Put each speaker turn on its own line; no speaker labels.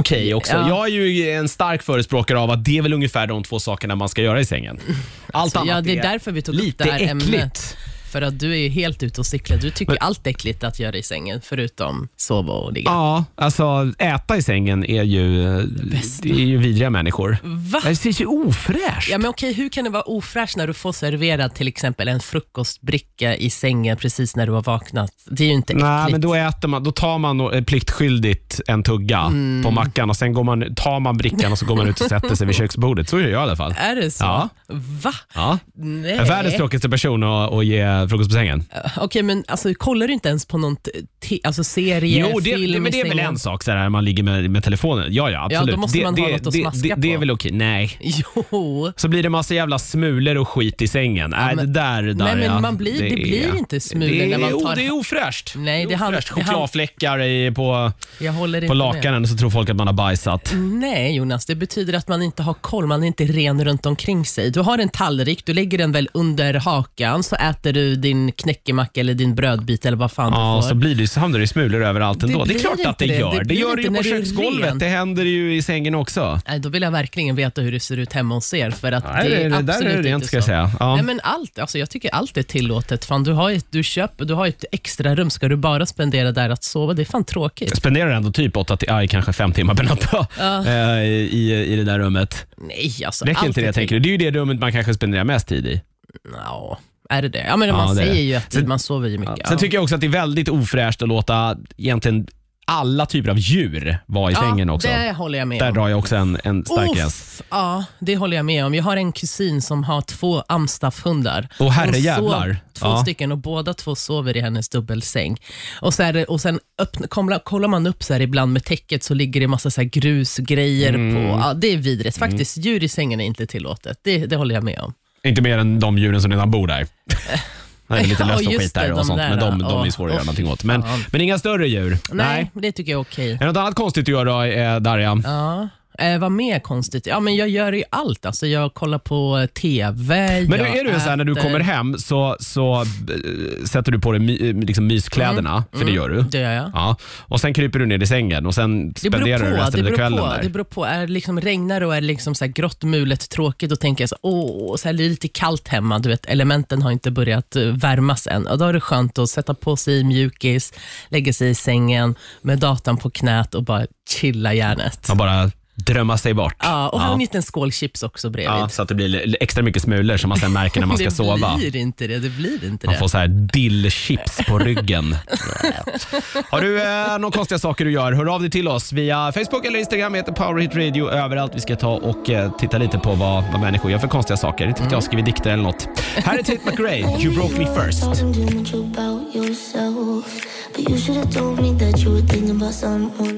okej också.
Ja.
Jag är ju en stark förespråkare av att det är väl ungefär de två sakerna man ska göra i sängen. Allt
Så,
annat
Alltså, ja, det är därför vi tog upp
lite
det här ämnet.
äckligt.
För att du är ju helt ute och cyklar. Du tycker allt är äckligt att göra i sängen, förutom sova och ligga.
Ja, alltså äta i sängen är ju, det är ju vidriga människor.
Va?
Det ser ju ofräscht.
Ja, men okej, hur kan det vara ofräscht när du får serverad till exempel en frukostbricka i sängen precis när du har vaknat? Det är ju inte äckligt.
Nej, men då äter man, då tar man nog, eh, pliktskyldigt en tugga
Mm.
på mackan och sen går man, tar man brickan och så går man ut och sätter sig vid köksbordet. Så gör jag i alla fall.
Är det så?
Ja.
Va?
Ja.
Nej.
Jag är Världens tråkigaste person att, att ge frukost på sängen.
Okej, men alltså, kollar du inte ens på någon te- alltså, serie,
Jo, det,
film
det, men det är
i
väl
sängen?
en sak så här, när man ligger med, med telefonen. Ja, ja, absolut.
då måste
det,
man
det,
ha något att
det,
smaska
det, det är
på.
väl okej. Nej.
Jo,
Så blir det massa jävla smulor och skit i sängen. Nej, det där, där
Nej, men
ja,
man blir- det blir
är-
inte smulor
det är-
när man
jo,
tar-
det är ofräscht.
Nej, det hand-
ofräscht.
det hand-
Chokladfläckar i, på,
jag håller inte Mm.
på
med.
lakanen och så tror folk att man har bajsat.
Nej, Jonas, det betyder att man inte har koll, man är inte ren runt omkring sig. Du har en tallrik, du lägger den väl under hakan, så äter du din knäckemacka eller din brödbit eller vad fan
Ja,
du
och
får.
så blir det, ju- så hamnar det ju smulor överallt ändå. Det,
blir
är klart att
inte
det
det.
gör.
Det
Det,
blir
gör det
inte
ju på
när det är
köksgolvet.
rent.
Det händer ju i sängen också.
Nej, då vill jag verkligen veta hur det ser ut hemma hos er, för att
Nej,
det
det,
är
det
absolut
där är rent
inte
ska jag
så.
säga. Ja.
Nej, men allt, alltså jag tycker allt är tillåtet. Fan, du, har ju, du, köper, du har ju ett extra rum. Ska du bara spendera där att sova? Det är fan tråkigt.
Jag spenderar ändå typ åtta, till, aj, kanske fem timmar per natt då, eh, i, i det där rummet.
Nej, alltså.
Räcker
allt
inte det
är
tänker du? Det är ju det rummet man kanske spenderar mest tid i.
till- Nå, är det det? Ja, men
Ja,
man
det är
säger
det.
ju att
Sen-
man sover ju mycket.
Sen
Ja.
tycker jag också att det är väldigt ofräscht att låta egentligen alla typer av djur vara i sängen också.
Det håller jag med
Där
om.
drar jag också en, en stark
Uff,
gräns.
Ja, det håller jag med om. Jag har en kusin som har två amstaffhundar.
Åh,
Hon
herrejävlar.
sov Två
Ja.
stycken och båda två sover i hennes dubbelsäng. Och, så är det, och sen öppna, kollar, kollar man upp så här ibland med täcket så ligger det massa så här grusgrejer på.
Mm.
Ja, det är vidrigt. Faktiskt, djur i sängen är inte tillåtet. Det, det håller jag med om.
Inte mer än de djuren som redan bor där. Nej, det är lite
Ja,
löst och
just
skit där
det,
och
de
sånt, men de,
där,
de är
ja.
svåra att göra
Uff.
någonting åt. Men,
Ja.
men inga större djur?
Nej, det tycker jag är okej.
Är det något annat konstigt du gör då, eh, Darja?
Ja. Eh, vad mer konstigt? Ja, men jag gör ju allt. Alltså, jag kollar på eh, TV.
Men
jag
är du en sån här när du
äter.
kommer hem så, så eh, sätter du på dig my, eh, liksom myskläderna,
Mm.
för det gör du.
Det gör jag.
Ja. Och sen kryper du ner i sängen och sen
Det beror,
spenderar du
på, det,
resten av
beror
kvällen
på,
där.
det beror på. Är det liksom regnar och är det liksom så här grått, mulet, tråkigt, då tänker jag så, åh, så här, det är lite kallt hemma. Du vet, elementen har inte börjat eh, värmas än. Och då är det skönt att sätta på sig mjukis, lägga sig i sängen med datan på knät och bara chilla hjärnet.
Man bara drömmer sig bort.
Ja, och ha en liten skål chips också bredvid.
Ja, så att det blir li- extra mycket smulor som man sen märker när man ska
det
sova.
blir inte det. Det blir inte
Man
det.
får så här dillchips på ryggen. Har du eh, några konstiga saker du gör, hör av dig till oss via Facebook eller Instagram. Vi heter Powerhit Radio överallt. Vi ska ta och eh, titta lite på vad, vad människor gör för konstiga saker. Inte vet jag, skriver dikter eller något. Här är Tate McRae, You Broke Me First.
Don't do much about yourself, but you should have told me that you were thinking about someone.